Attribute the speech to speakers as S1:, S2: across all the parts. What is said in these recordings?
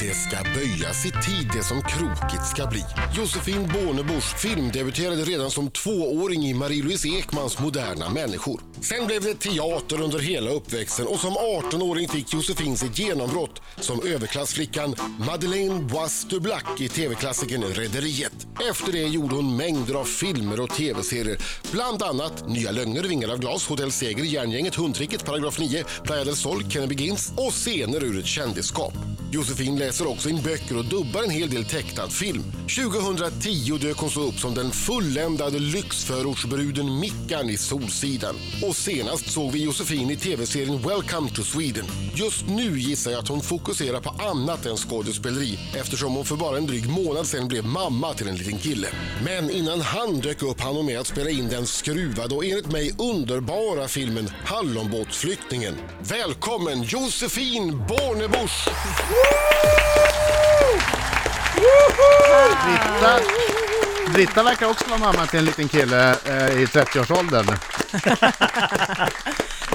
S1: Det ska böjas i tid det som krokigt ska bli. Josefin Bornebusch filmdebuterade redan som tvååring i Marie-Louise Ekmans Moderna människor. Sen blev det teater under hela uppväxten och som 18-åring fick Josefin sitt genombrott som överklassflickan Madeleine Bois de Black i tv-klassikern Rederiet. Efter det gjorde hon mängder av filmer och tv-serier, bland annat Nya lögner, Vingar av glas, Hotell Seger, Järngänget, Hundtricket, Paragraf 9, Playa del Sol, Kenny Begins och scener ur ett kändisskap. Josefin läser också in böcker och dubbar en hel del tecknad film. 2010 dök hon så upp som den fulländade lyxförortsbruden Mickan i Solsidan. Och senast såg vi Josefin i tv-serien Welcome to Sweden. Just nu gissar jag att hon fokuserar på annat än skådespeleri eftersom hon för bara en dryg månad sedan blev mamma till en liten kille. Men innan han dök upp hann hon med att spela in den skruvade och enligt mig underbara filmen Hallonbåtsflyktningen. Välkommen Josefin Bornebusch!
S2: Britta, Britta verkar också vara mamma till en liten kille eh, i 30-årsåldern.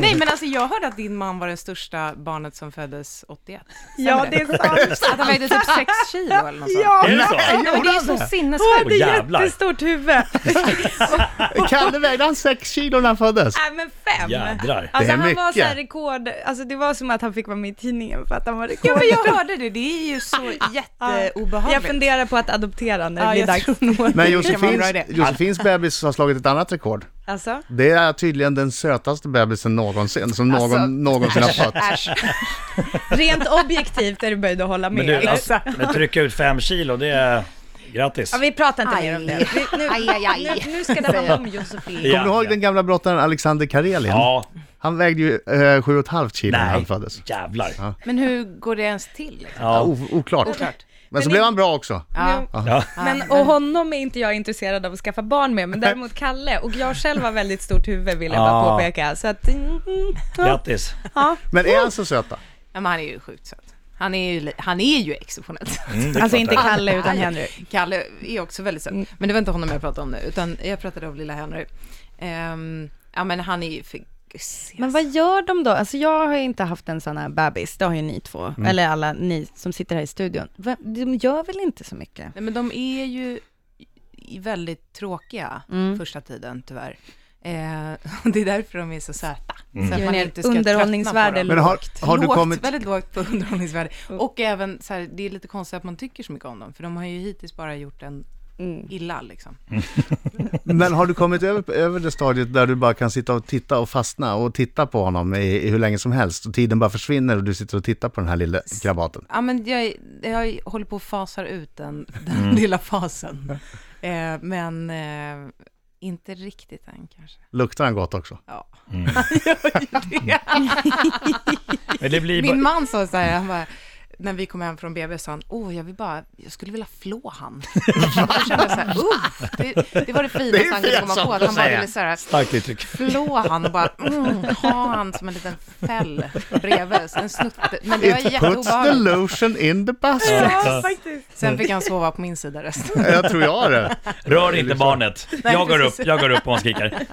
S3: Nej men alltså jag hörde att din man var det största barnet som föddes 81. Stämmer
S4: Ja, det är sant.
S3: Att han vägde typ 6 kilo eller något sånt.
S4: Ja,
S5: Är det så?
S3: Nej, men det är så
S4: hon
S3: sinnessjukt.
S4: hade
S5: Åh, jävlar.
S4: jättestort huvud.
S2: Kalle vägde han 6 kilo när han föddes?
S4: Nej men fem!
S5: Jädrar.
S4: Alltså
S2: Det är
S4: han var
S2: mycket.
S4: så här rekord, alltså det var som att han fick vara med i tidningen för att han var rekord.
S3: Ja men jag hörde det, det är ju eh, så
S4: jag
S3: jätteobehagligt.
S4: funderar på att adoptera när det
S3: Ja,
S4: blir
S3: jag
S4: dags.
S2: Men
S3: Det kan vara en
S2: Josefins,
S3: bra idé.
S2: Josefins bebis har slagit ett annat rekord.
S4: Alltså,
S2: Det är tydligen den sötaste bebisen någonsin, som
S3: Alltså.
S2: någon någonsin har fött.
S4: rent objektivt är det böjd att hålla med.
S5: Men du,
S4: eller?
S5: alltså, men trycka ut fem kilo, det är... Grattis.
S4: ja, vi pratar inte
S3: Aj.
S4: mer om det. Vi, nu,
S3: Aj, aj, aj.
S4: Nu, nu ska det handla om Josefin.
S5: Ja,
S2: Kommer du ihåg
S5: ja.
S2: den gamla brottaren Alexander Karelin?
S5: Ja,
S2: Han vägde ju eh, 7,5 kilo när han
S5: nej.
S2: föddes.
S5: Jävlar. Ja.
S3: Men hur går det ens till? Liksom?
S5: Ja.
S2: O- oklart.
S3: Oklart.
S2: Men så blev han bra också.
S3: Ja.
S4: Nu, Men,
S3: men-
S4: och honom är inte jag intresserad av att skaffa barn med, men däremot Kalle. Och jag själv har väldigt stort huvud vill jag bara
S5: Ja.
S4: påpeka. Så att, mm, mm, ja.
S5: Grattis.
S4: ja.
S2: Men är han så söta?
S3: ja men han är ju sjukt söt. Han är ju, li- han är ju exceptionell.
S5: det är
S4: Alltså
S5: klart
S4: inte
S5: det.
S4: Kalle utan Henry.
S3: Kalle är också väldigt söt. Men det var inte honom jag pratade om nu, utan jag pratade om lilla Henry. Ehm, ja men han är ju för...
S4: Men vad gör de då? Alltså jag har ju inte haft en sån här bebis, det har ju ni två,
S5: Mm.
S4: eller alla ni som sitter här i studion. Va- De gör väl inte så mycket?
S3: Nej, men de är ju i- väldigt tråkiga första tiden tyvärr. Eh, och det är därför de är så söta. Så att man inte ska tröttna
S4: Underhållningsvärde
S3: på
S2: Mm. Men har,
S4: Lågt.
S3: dem.
S2: har du
S3: lågt,
S2: kommit...
S3: Väldigt lågt på underhållningsvärde. Och även så här, det är lite konstigt att man tycker så mycket om dem, för de har ju hittills bara gjort en illa liksom.
S2: Men har du kommit över, över det stadiet där du bara kan sitta och titta och fastna och titta på honom i, i hur länge som helst och tiden bara försvinner och du sitter och tittar på den här lilla krabaten?
S3: Ja, men jag, jag håller på att fasar ut den, den
S2: Mm.
S3: lilla fasen. Eh, men eh, inte riktigt än kanske.
S2: Luktar han gott också?
S3: Ja. Jag gör det.
S5: Men det blir
S3: Min
S5: bara...
S3: man sa så här, han bara, när vi kom hem från BB sa han, åh, jag vill bara, jag skulle vilja flå han. Jag kände så här, uff, det, det var det finaste han kunde komma
S2: pinsamt
S3: på, att
S2: att
S3: han bara
S2: säga.
S3: ville så här,
S5: Starkt uttryck.
S3: flå han och bara, mm, ha han som en liten fäll bredvid, så en snutte. Men det var
S2: It puts the
S3: jätteobehagligt.
S2: lotion in the basket.
S5: Ja.
S3: Sen fick han sova på min sida resten.
S2: Jag tror jag har det.
S5: Rör inte barnet. Jag går upp,
S3: precis.
S5: jag går upp om hon skriker.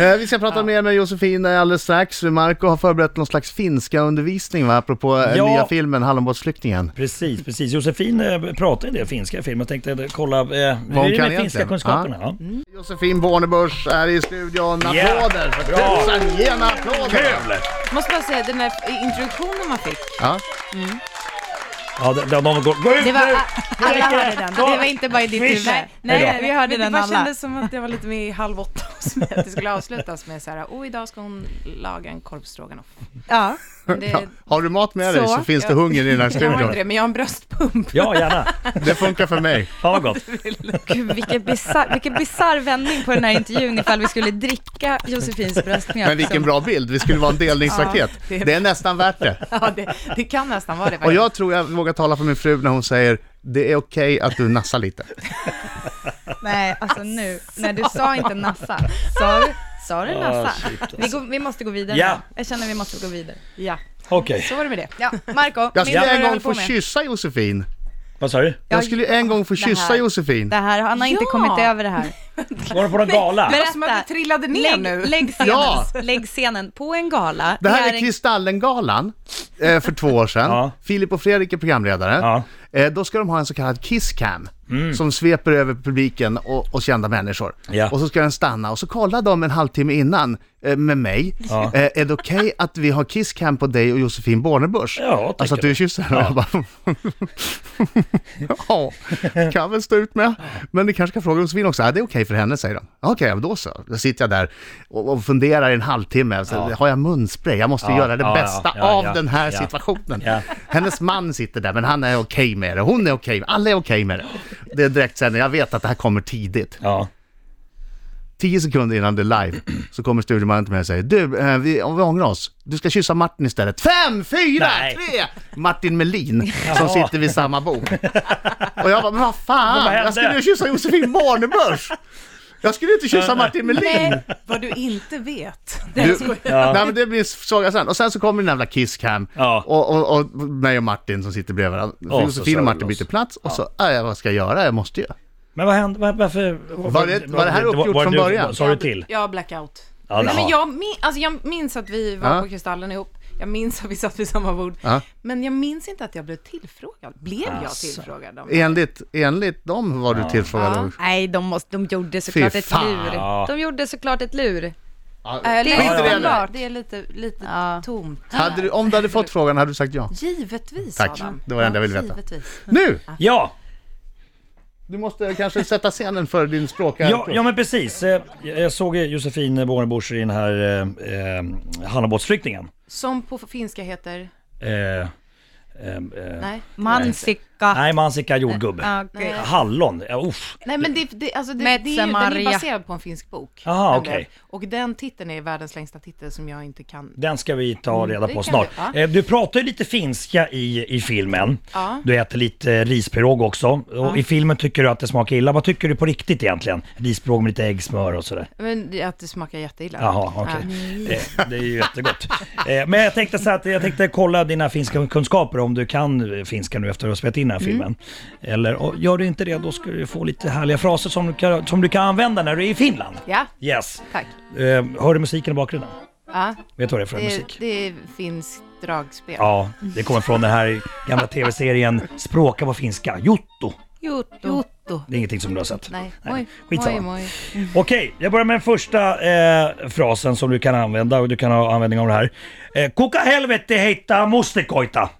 S2: Eh, Vi ska prata mer med Josefin eh, alldeles strax. Marco har förberett någon slags finska undervisning va? apropå eh,
S5: Ja.
S2: nya filmen Hallonbåtsflyktingen.
S5: Precis, precis. Josefin eh, pratar en del finska i film. Jag tänkte eh, kolla, eh, hur är det
S2: hon
S5: med
S2: kan
S5: finska
S2: egentligen?
S5: kunskaperna? Ja.
S2: Josefin Bornebusch är i studion. Applåder! för
S5: Bra.
S2: tusan, Ge en applåd!
S5: Kul!
S3: Måste bara säga, den där introduktionen man fick,
S2: Ja.
S5: Ja, de, de, de går, gå ut
S4: Det var,
S5: nu!
S4: alla hörde den. Det var inte bara i ditt huvud.
S5: Nej,
S4: Nej, vi hörde
S3: men det
S4: den
S3: bara
S4: alla.
S3: kändes som att jag var lite med i Halv åtta hos mig, att det skulle avslutas med så här, oh, idag ska hon laga en korvstroganoff.
S4: Ja.
S3: Men det,
S2: Ja. Har du mat med dig
S4: Så.
S2: så, finns det hunger i den här
S3: Jag har inte
S2: studion.
S3: det, men jag har en bröstpump.
S5: Ja, gärna.
S2: Det funkar för mig.
S5: Fan vad gott.
S4: Gud, vilken bisarr vilken bizarr vändning på den här intervjun ifall vi skulle dricka Josefins bröstmjölk.
S2: Men vilken
S4: som-
S2: bra bild, vi skulle vara en delningsraket.
S3: det är-
S2: Det är nästan värt det.
S3: Ja, det, det kan nästan vara det.
S2: Och jag tror jag vågar tala för min fru när hon säger det är okej att du nassar lite.
S4: Nej, alltså nu. Nej, du sa inte Nassa. Sa du, sa du
S5: Ah,
S4: Nassa?
S5: shit, alltså.
S4: Vi, går, vi måste gå vidare.
S5: Ja.
S4: Jag känner vi måste gå vidare.
S3: Ja,
S5: Okej.
S3: så var det med det.
S4: Ja, Marco,
S2: Jag
S4: minns
S2: skulle
S4: vad du
S2: en gång
S4: håller på
S2: få
S4: med?
S2: kyssa Josefin.
S5: Vad sa du?
S4: Ja,
S2: Jag skulle ju en gång få
S4: det här.
S2: kyssa Josefin.
S4: Det här, han har inte
S3: Ja.
S4: kommit över det här.
S5: Var det på någon gala?
S3: var som att det trillade ner
S4: lägg,
S3: nu.
S4: Lägg scenen,
S2: Ja.
S4: lägg scenen på en gala.
S2: Det här
S4: en-
S2: är Kristallengalan eh, för två år sedan.
S5: Ja.
S2: Filip och Fredrik är programledare.
S5: Ja. Mm.
S2: Eh, då ska de ha en så kallad kisscam som sveper över publiken och, och kända människor.
S5: Ja.
S2: Och så ska den stanna och så kollar de en halvtimme innan eh, med mig.
S5: Ja.
S2: Eh, är det okej att vi har kisscam på dig och Josefin Bornebusch?
S5: Ja, tänker
S2: alltså att du
S5: jag.
S2: kysser? Ja. Jag bara, ja, kan väl stå ut med. Men ni kanske kan fråga Josefin också. Ja, det är okej för henne, säger de. Okej, ja, men då så. Då sitter jag där och, och funderar i en halvtimme. Så,
S5: Ja.
S2: Har jag munspray? Jag måste
S5: Ja,
S2: göra det
S5: ja, ja,
S2: bästa
S5: ja,
S2: av
S5: ja,
S2: den här
S5: ja.
S2: situationen.
S5: Ja.
S2: Hennes man sitter där, men han är okej med det. Hon är okej, alla är okej med det. Det är direkt sen, jag vet att det här kommer tidigt.
S5: Ja.
S2: Tio sekunder innan det är live så kommer studiomannen till mig och säger Du, eh, vi, om vi ångrar oss, du ska kyssa Martin istället. Fem, fyra,
S5: Nej.
S2: tre! Martin Melin som
S5: Jaha.
S2: sitter vid samma bord. Och jag bara, men vad
S5: Men
S2: fan,
S5: vad
S2: jag
S5: hände?"
S2: skulle ju kyssa Josefin Bornebusch! Jag skulle ju inte kyssa Martin Melin!
S3: Nej, vad du inte vet.
S2: Du,
S5: Ja.
S2: Nej men det blir saga sen. Och sen så kommer den jävla kisscam
S5: Ja.
S2: och, och, och mig och Martin som sitter bredvid varandra.
S5: Och så
S2: Josefin
S5: kör
S2: och
S5: vi
S2: Martin
S5: loss.
S2: byter plats och så, äh, vad ska jag göra? Jag måste ju.
S5: Men vad hände? Var, varför?
S2: Var det- var det här uppgjort
S5: var
S2: från
S5: du-
S2: början?
S5: Sa du till?
S3: Ja, blackout.
S5: Ja,
S3: Nej, men
S5: jaha.
S3: jag, min, alltså jag minns att vi var
S2: Ja.
S3: på Kristallen ihop. Jag minns att vi satt vid samma bord.
S2: Ja. Alltså.
S3: Men jag minns inte att jag blev tillfrågad. Blev jag tillfrågad? Om
S2: Enligt, enligt dem var du tillfrågad.
S3: Ja.
S2: Ja.
S4: Nej, de, måste, de gjorde såklart
S2: Fy
S4: ett
S2: fan.
S4: lur. De gjorde såklart ett lur.
S3: Äh,
S4: Skit i
S3: lite
S2: det nu.
S3: oklart. det är lite, lite
S4: Ja.
S3: tomt.
S2: Hade du, om du hade fått frågan hade du sagt ja.
S3: Givetvis,
S2: Tack.
S3: Adam.
S2: Det var det enda jag ville veta.
S3: Givetvis.
S2: Nu!
S5: Ja,
S2: Du måste kanske sätta scenen för din språk.
S5: ja, ja men precis. Eh, Jag jag såg ju Josefin Bornebusch i den här eh, eh, Hannabåtsflyktingen.
S3: Som på finska heter...
S5: Eh, eh, eh,
S3: Nej.
S4: Mansicka.
S5: nej, mansika jordgubbe.
S4: Ja, gud.
S3: Nej.
S5: Hallon, ja, uff.
S3: Nej men det, det, alltså det, det,
S4: Metze
S3: är ju- den är ju
S4: Maria.
S3: baserad på en finsk bok.
S5: Jaha,
S3: Den
S5: okej.
S3: där. Och den titeln är världens längsta titel som jag inte kan.
S5: Den ska vi ta reda
S3: Mm, det
S5: på
S3: kan
S5: snart.
S3: vi, ja.
S5: Eh, Du pratar ju lite finska i, i filmen.
S3: Ja.
S5: Du äter lite eh, rispirog också. Och I filmen tycker du att det smakar illa. Vad tycker du på riktigt egentligen? Rispirog med lite ägg, smör och sådär.
S3: Men det- att det smakar jätteilla.
S5: Jaha, okej.
S3: Ja.
S5: Eh, Det är ju jättegott. Eh, Men jag tänkte så här att jag tänkte kolla dina finska kunskaper om du kan eh, finska nu efter att ha spelat in den
S3: Mm.
S5: här filmen. Eller och gör du inte det då ska du få lite härliga fraser som du kan, som du kan använda när du är i Finland.
S3: Ja,
S5: Yes.
S3: tack.
S5: Eh, Hör du musiken i bakgrunden?
S3: Ja,
S5: Vet du vad det är för
S3: det,
S5: musik?
S3: Eh, det är finskt dragspel.
S5: Ja, det kommer från den här gamla tv-serien Språka på finska, Jotto.
S4: Jotto.
S3: Jotto.
S5: Det är ingenting som du har sett.
S3: Nej, moj,
S5: skitsamma.
S3: moj, moj.
S5: Okej, jag börjar med den första eh, frasen som du kan använda och du kan ha användning av det här. Eh, Kuka helvete heita mustikoita?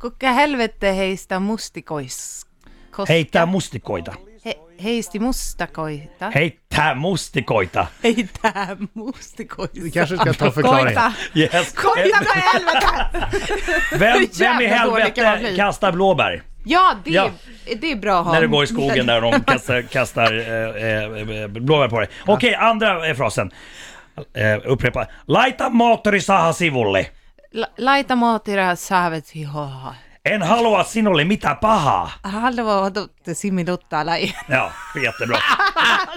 S3: Kuka helvete heistä mustikois. Kos-
S5: Heita mustikoita.
S3: He, heisti mustakoita.
S5: Heita mustikoita.
S3: Heitä
S2: Vi
S3: mustikoista.
S2: kanske ska ta förklaringen.
S5: Yes.
S3: Koita för helvete!
S5: Vem, vem i
S3: Jävla dålig kan man
S5: helvete
S3: bli.
S5: kastar blåbär?
S3: Ja, det,
S5: Ja.
S3: det är bra att ha.
S5: När du går i skogen där och de kastar, kastar eh, eh, eh, blåbär på dig. Okej, andra eh, frasen. Eh, upprepa. Laita moottori sahasivulle.
S3: La- Laita maatira saavet hihoha.
S5: En halua sinulle mitä pahaa.
S3: Halva och dotter similutta lai.
S5: Ja, jättebra.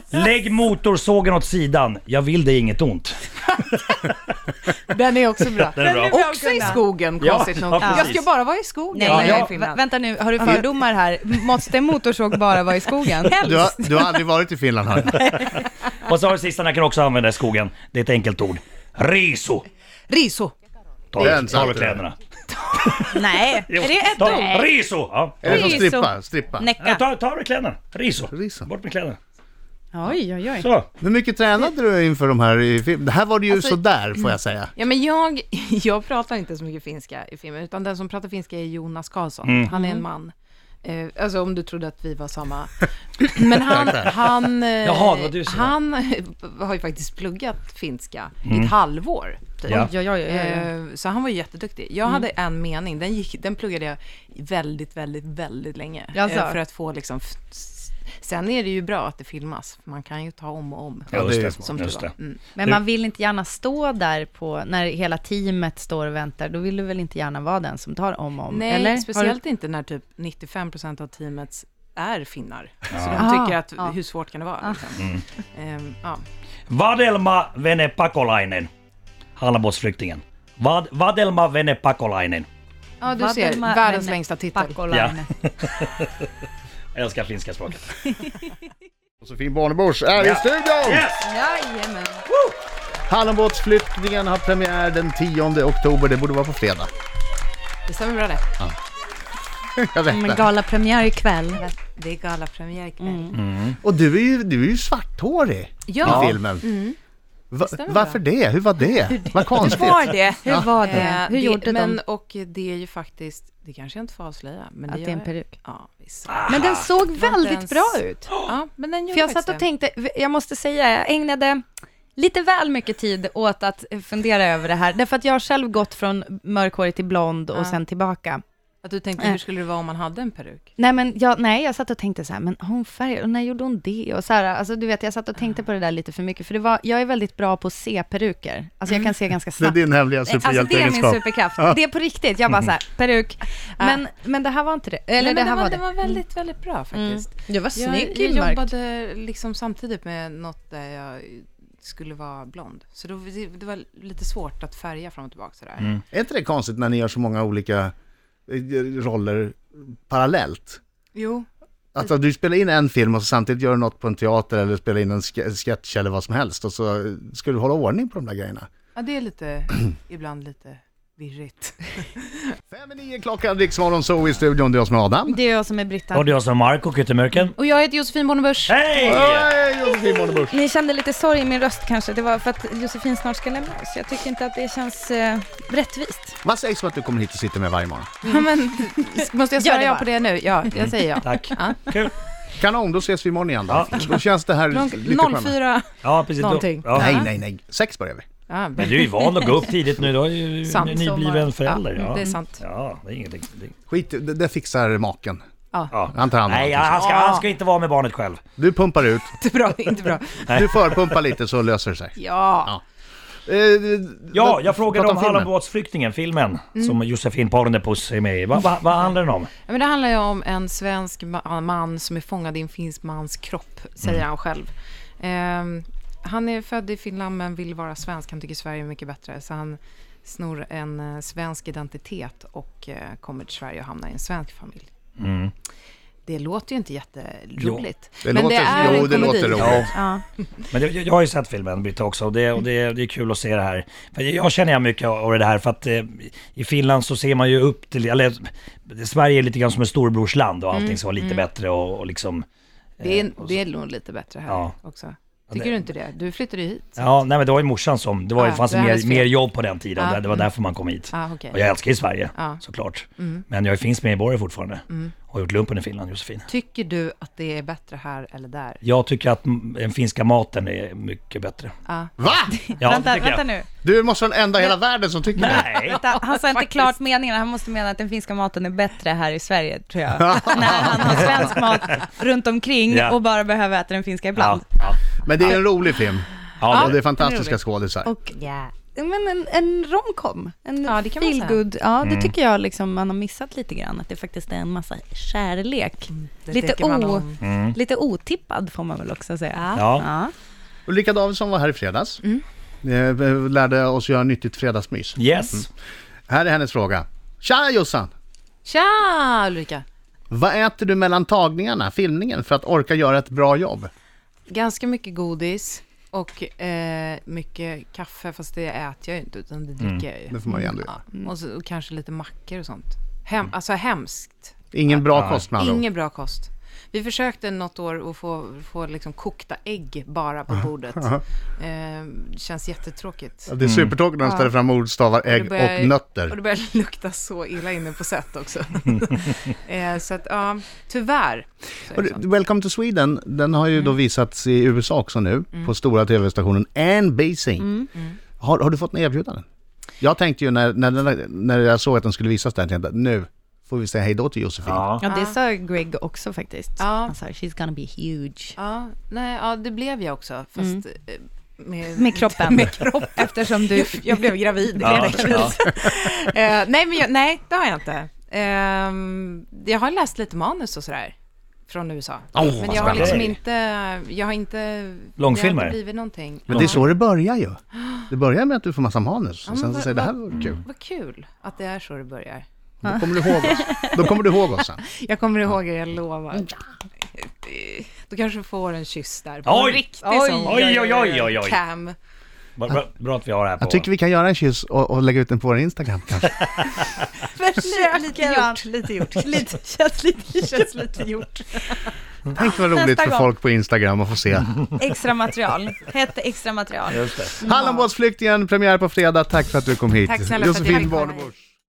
S5: Lägg motorsågen åt sidan. Jag vill dig inget ont.
S3: Den är också bra.
S5: Den är bra.
S3: Också i skogen,
S5: Ja,
S3: konstigt nog.
S5: ja,
S3: jag
S5: precis.
S3: ska bara vara i skogen
S4: Nej,
S3: när jag är
S5: ja.
S3: i
S4: vä-
S3: Finland.
S4: vänta nu, har du fördomar här? Måste en motorsåg bara vara i skogen?
S2: Du har, du har aldrig varit i Finland hörni.
S5: Och så har du sista, den kan också använda i skogen. Det är ett enkelt ord. Riso.
S3: Riso.
S5: Ta
S2: Den
S5: av
S2: satte
S5: dig
S2: du.
S5: kläderna.
S4: Nej,
S5: Jo,
S4: är det ett
S5: ta-
S4: ord?
S5: Riso! Ja.
S2: Är det som
S4: Riso.
S2: strippa? strippa?
S5: Ja,
S4: Näcka.
S5: Ta, ta av dig kläderna. Riso.
S2: Riso.
S5: Bort med kläderna.
S4: Oj, oj, oj.
S5: Så.
S2: Hur mycket tränade du inför de här i film? Det här var det ju
S3: Alltså-
S2: sådär får jag säga.
S3: Ja, men jag, jag pratar inte så mycket finska i filmen, utan den som pratar finska är Jonas Karlsson.
S5: Mm.
S3: Han är en man. Eh, alltså om du trodde att vi var samma. Men han, han, eh,
S5: Jaha, det var du som var.
S3: han eh, har ju faktiskt pluggat finska i
S5: Mm.
S3: ett halvår. Typ.
S5: Ja.
S4: Oj, oj, oj, oj.
S3: Eh, Så han var ju jätteduktig. Jag hade en mening, den, gick, den pluggade jag väldigt, väldigt, väldigt länge.
S4: Jaså?
S3: Eh, För att få liksom... f- s- Sen är det ju bra att det filmas, för man kan ju ta om och om.
S5: Ja,
S2: det är
S5: just det.
S3: Som
S5: Just
S3: tur
S5: det.
S3: var. Mm.
S4: Men man vill inte gärna stå där på, när hela teamet står och väntar. Då vill du väl inte gärna vara den som tar om och om?
S3: Nej,
S4: eller? Har du-
S3: speciellt inte när typ 95% av teamet är finnar. Så
S4: Ah.
S3: de tycker att
S4: Ja.
S3: hur svårt kan det vara? Liksom. Ehm, ja.
S5: Vadelma vene pakolainen. Hallabåtsflyktingen. Vad, vadelma vene pakolainen.
S3: ja, du ser.
S4: Vadelma
S3: Världens
S4: Venne-
S3: längsta titel.
S4: Pakolainen.
S5: Jag älskar finska språket.
S2: Josefin Bornebusch är i studion!
S3: Jajamän.
S2: Hallonbåtsflyttningen har premiär den 10 oktober, det borde vara på fredag.
S3: Det stämmer bra det.
S2: Jag vet
S4: Men
S2: det.
S4: galapremiär ikväll.
S3: Det är galapremiär ikväll.
S2: Och du är ju, du är ju svarthårig
S3: Ja.
S2: i filmen. Va,
S3: stämmer
S2: varför det? Hur var det? Vad konstigt.
S3: Var det?
S4: Hur var det?
S3: Eh,
S4: Hur gjorde
S3: men,
S4: de?
S3: Och det är ju faktiskt, det kanske jag inte får avslöja, men
S4: Att
S3: det
S4: det är
S3: gör
S4: en
S3: jag.
S4: peruk.
S3: Ah, Ja, visst.
S5: Ah!
S4: Men den såg
S3: var inte
S4: väldigt
S3: ens-
S4: bra ut.
S3: Ja, men den gör
S4: För jag satt och tänkte, jag måste säga, jag ägnade lite väl mycket tid åt att eh, fundera över det här. Därför att jag har själv gått från mörkhårig till blond och
S3: Ja.
S4: sen tillbaka.
S3: Att du tänkte, hur skulle det vara om man hade en peruk?
S4: Nej, men jag, nej, jag satt och tänkte så här, men har hon färg? Och när gjorde hon det? Och så här, alltså du vet, jag satt och tänkte på det där lite för mycket. För det var, jag är väldigt bra på att se peruker. Alltså jag kan se ganska
S2: Det är
S4: snabbt.
S2: din hemliga
S4: Nej, Alltså det är min
S2: superhjälteegenskap.
S4: superkraft. Det är på riktigt. Jag bara så här, peruk. Men, men det här var inte det. Eller
S3: Nej, men
S4: det här
S3: den
S4: var
S3: den
S4: det. Mm.
S3: var väldigt, väldigt bra faktiskt.
S4: Du var
S3: Jag, jag jobbade liksom samtidigt med något där jag skulle vara blond. Så då, det, det var lite svårt att färga fram och tillbaka sådär.
S5: Mm.
S2: Är inte det konstigt när ni gör så många olika eh, roller parallellt?
S3: Jo,
S2: Att du spelar in en film och så samtidigt gör du något på en teater eller spelar in en ske- sketch eller vad som helst och så eh, ska du hålla ordning på de där grejerna.
S3: ja, det är lite, ibland lite virrigt.
S2: Fem i nio klockan, Riksmorgon så i studion, det är jag som är Adam.
S4: Det är jag som är Britta.
S5: Och det är jag som är Marco Kyttemörken.
S3: Och jag heter Josefin Bornebusch.
S5: Hej!
S2: Hej, Josefin Bornebusch!
S4: Ni kände lite sorg i min röst kanske. Det var för att Josefin snart ska lämna oss. Jag tycker inte att det känns eh, rättvist.
S2: Vad sägs om att du kommer hit och sitter med varje morgon?
S3: Ja, men, måste jag
S4: Gör
S3: svara
S4: det
S3: ja
S4: bara.
S3: på det nu? Ja, jag säger ja.
S5: Tack.
S3: Ja.
S5: Kul.
S2: Kanon, då ses vi imorgon igen då.
S5: Ja.
S2: Då känns det här lite
S3: Klockan
S2: skönare.
S3: 04.
S5: Ja, precis. Då-
S3: Någonting.
S5: Ja.
S2: Nej, nej, nej. Sex börjar vi.
S3: Ja,
S5: Men du är ju van att gå upp tidigt nu. Du är ju
S3: sant.
S5: nybliven förälder. Ja.
S3: Det är sant.
S5: Ja, det är ingenting. Det-
S2: Skit, det, det fixar maken.
S5: Ja.
S2: Han tar hand om
S5: Nej,
S2: allting.
S5: han ska, han ska inte vara med barnet själv.
S2: Du pumpar ut,
S3: Inte bra, inte bra.
S2: du förpumpar lite så löser det sig.
S3: Ja,
S2: Eh,
S5: Ja,
S2: vad-
S5: jag frågade
S2: prata
S5: om
S2: filmen.
S5: Hallandsbåtsflyktingen, filmen
S3: Mm.
S5: som Josefin Parnepus är med i. Vad va, vad handlar den om?
S3: Ja, men det handlar ju om en svensk ma- man som är fångad i en finsk mans kropp, säger
S2: Mm.
S3: han själv. Ehm, han är född i Finland men vill vara svensk. Han tycker Sverige är mycket bättre. Så han snor en eh, svensk identitet och eh, kommer till Sverige och hamnar i en svensk familj. Det låter ju inte jätteroligt.
S2: Det låter- Mm. jo, det låter roligt.
S3: Ja.
S5: Men det, jag har ju sett filmen Britta också och det, och det, det är kul att se det här. För jag känner jag mycket av det här för att eh, i Finland så ser man ju upp till, eller Sverige är lite grann som ett storebrorsland och allting
S3: Mm,
S5: ska vara lite bättre och, och liksom...
S3: Det,
S2: Eh,
S3: är, det är nog lite bättre här
S5: Ja.
S3: också. Tycker du inte det? Du flyttade ju hit.
S5: Ja, nej men det var ju morsan som, det, var,
S3: Ja,
S5: det fanns
S3: det är hennes
S5: mer,
S3: fel.
S5: mer jobb på den tiden,
S3: Ja,
S5: det, det var därför man kom hit.
S3: Ah, okej.
S5: Och jag älskar ju Sverige,
S3: Ja. Mm.
S5: såklart. Men jag är finsk medborgare fortfarande. Och har gjort lumpen i Finland, Josefin.
S3: Tycker du att det är bättre här eller där?
S5: Jag tycker att m- den finska maten är mycket bättre.
S2: Va?
S5: Ja, det
S4: vänta,
S5: tycker jag.
S4: vänta nu.
S2: Du måste vara den enda i hela världen som tycker det.
S5: Nej.
S4: Vänta, han sa inte klart meningen. Han måste mena att den finska maten är bättre här i Sverige, tror jag. När han har svensk mat runt omkring
S5: Ja.
S4: och bara behöver äta den finska
S5: Ja,
S4: ibland.
S5: ja.
S2: Men det är en rolig film.
S5: Ja,
S2: Och det är
S3: det är
S2: fantastiska
S3: roligt.
S2: skådisar.
S4: Och ja. Men en, en romcom, en
S3: Ja, det kan man säga.
S4: feelgood, ja
S5: Mm.
S4: det tycker jag liksom man har missat lite grann, att det faktiskt är en massa kärlek.
S3: det
S4: lite,
S3: tycker man
S4: o,
S3: om.
S4: lite otippad får man väl också säga.
S5: Mm. Ja.
S2: Ulrika Davidsson var här i fredags.
S3: Mm.
S2: Eh, Lärde oss göra nyttigt fredagsmys.
S5: Yes.
S2: Här är hennes fråga. Tja Jossan!
S3: Tja Ulrika!
S2: Vad äter du mellan tagningarna, filmningen, för att orka göra ett bra jobb?
S3: Ganska mycket godis och eh, mycket kaffe, fast det äter jag ju inte, utan det dricker jag ju.
S2: Det får man ju ändå göra.
S3: Ja. Och, så, och kanske lite mackor och sånt. Hem, alltså hemskt.
S2: Ingen bra kost med andra ord.
S3: Ingen bra kost. Vi försökte något år att få, få liksom kokta ägg bara på bordet. Eh, känns jättetråkigt.
S2: Ja, Det är supertråkigt när de ställer fram ordstavar,
S3: det
S2: ägg
S3: börjar-
S2: och
S3: Och
S2: nötter.
S3: det börjar lukta så illa inne på set också. eh, så att, ja, tyvärr. så är
S2: Och
S3: det
S2: du-
S3: sånt.
S2: Welcome to Sweden, den har ju då
S3: Mm.
S2: visats i USA också nu, på stora tv-stationen NBC.
S3: Mm.
S2: Har, har du fått några erbjudanden? Jag tänkte ju när, när, den- när jag såg att den skulle visas där, tänkte jag, nu får vi säga hej då till Josefin.
S5: Ja.
S4: Ja, det sa Greg också faktiskt.
S3: Ja.
S4: Han sa, she's gonna be huge.
S3: Ja, nej, ja, det blev jag också. Fast
S2: Mm.
S3: eh, med,
S4: Med kroppen.
S3: med kroppen.
S4: Eftersom du...
S3: Jag blev gravid.
S5: Ja, ja.
S3: Eh, nej, men jag, nej, det har jag inte. Ehm, jag har läst lite manus och sådär från USA.
S2: Åh, vad
S3: men jag har
S2: spännande.
S3: liksom inte... Jag har inte... Det
S5: Långfilmer?
S3: har inte blivit någonting.
S2: Men det är så det börjar ju. Det börjar med att du får massa manus, och
S3: men
S2: sen så
S3: vad-
S2: säger du, det här
S3: vad- Mm.
S2: var kul.
S3: Vad kul att det är så det börjar.
S2: Då kommer du ihåg oss. Då kommer du ihåg oss sen.
S5: Mm.
S3: Jag kommer ihåg er, jag lovar. Då kanske du får en kyss där. På
S5: Oj!
S3: en riktig
S4: Oj!
S3: sån
S5: Oj, oj, oj, oj, oj.
S3: cam.
S5: Bra, bra, bra att vi har det här på...
S2: Jag tycker vi kan göra en kyss och, och lägga ut den på vår Instagram kanske.
S4: Försök
S3: Lite
S4: grann.
S3: gjort, lite gjort.
S4: Lite, känns lite, känns lite gjort.
S2: Tänk vad roligt
S4: Nästa
S2: för
S4: gång.
S2: folk på Instagram att få se.
S3: Mm.
S4: Extra material. Hette extra material.
S5: Just det.
S2: Hallonbåtsflyktingen, premiär på fredag. Tack för att du kom hit.
S3: Tack snälla för att jag
S2: Josefin
S3: fick komma
S2: Bornebusch.
S3: hit.